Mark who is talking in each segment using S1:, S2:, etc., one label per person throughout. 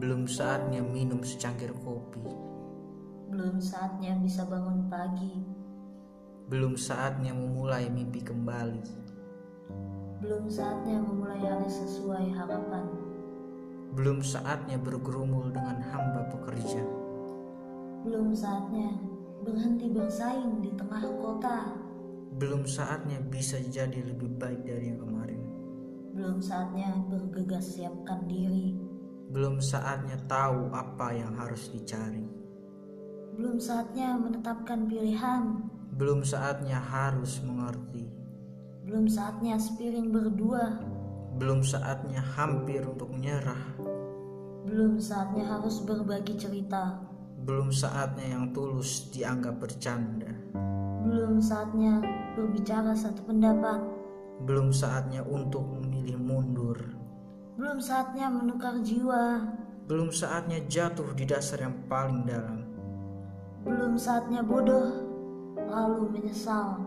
S1: Belum saatnya minum secangkir kopi.
S2: Belum saatnya bisa bangun pagi.
S1: Belum saatnya memulai mimpi kembali.
S2: Belum saatnya memulai alis sesuai harapan.
S1: Belum saatnya bergerumul dengan hamba pekerja.
S2: Belum saatnya berhenti bersaing di tengah kota.
S1: Belum saatnya bisa jadi lebih baik dari yang kemarin.
S2: Belum saatnya bergegas siapkan diri.
S1: Belum saatnya tahu apa yang harus dicari.
S2: Belum saatnya menetapkan pilihan.
S1: Belum saatnya harus mengerti.
S2: Belum saatnya spiring berdua.
S1: Belum saatnya hampir untuk menyerah.
S2: Belum saatnya harus berbagi cerita.
S1: Belum saatnya yang tulus dianggap bercanda.
S2: Belum saatnya berbicara satu pendapat.
S1: Belum saatnya untuk memilih mundur.
S2: Belum saatnya menukar jiwa.
S1: Belum saatnya jatuh di dasar yang paling dalam.
S2: Belum saatnya bodoh lalu menyesal.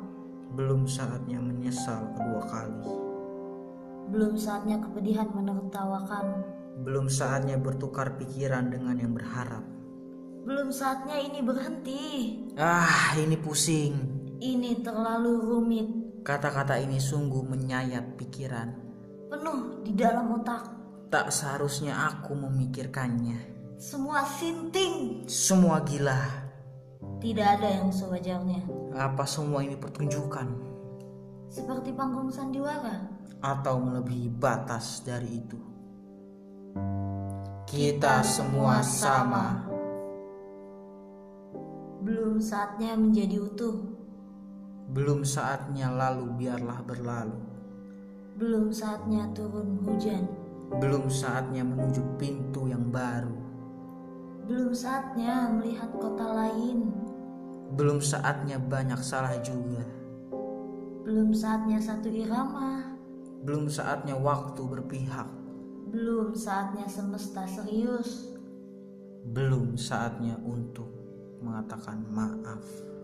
S1: Belum saatnya menyesal kedua kali.
S2: Belum saatnya kepedihan menertawakan.
S1: Belum saatnya bertukar pikiran dengan yang berharap.
S2: Belum saatnya ini berhenti.
S1: Ah, ini pusing.
S2: Ini terlalu rumit,
S1: Kata-kata ini sungguh menyayat pikiran.
S2: penuh di dalam otak.
S1: Tak seharusnya aku memikirkannya.
S2: Semua sinting.
S1: Semua gila.
S2: Tidak ada yang sewajarnya.
S1: Apa semua ini pertunjukan?
S2: Seperti panggung sandiwara.
S1: Atau melebihi batas dari itu? Kita semua sama.
S2: Belum saatnya menjadi utuh.
S1: Belum saatnya lalu biarlah berlalu.
S2: Belum saatnya turun hujan.
S1: Belum saatnya menuju pintu yang baru.
S2: Belum saatnya melihat kota lain.
S1: Belum saatnya banyak salah juga.
S2: Belum saatnya satu irama.
S1: Belum saatnya waktu berpihak.
S2: Belum saatnya semesta serius.
S1: Belum saatnya untuk mengatakan maaf.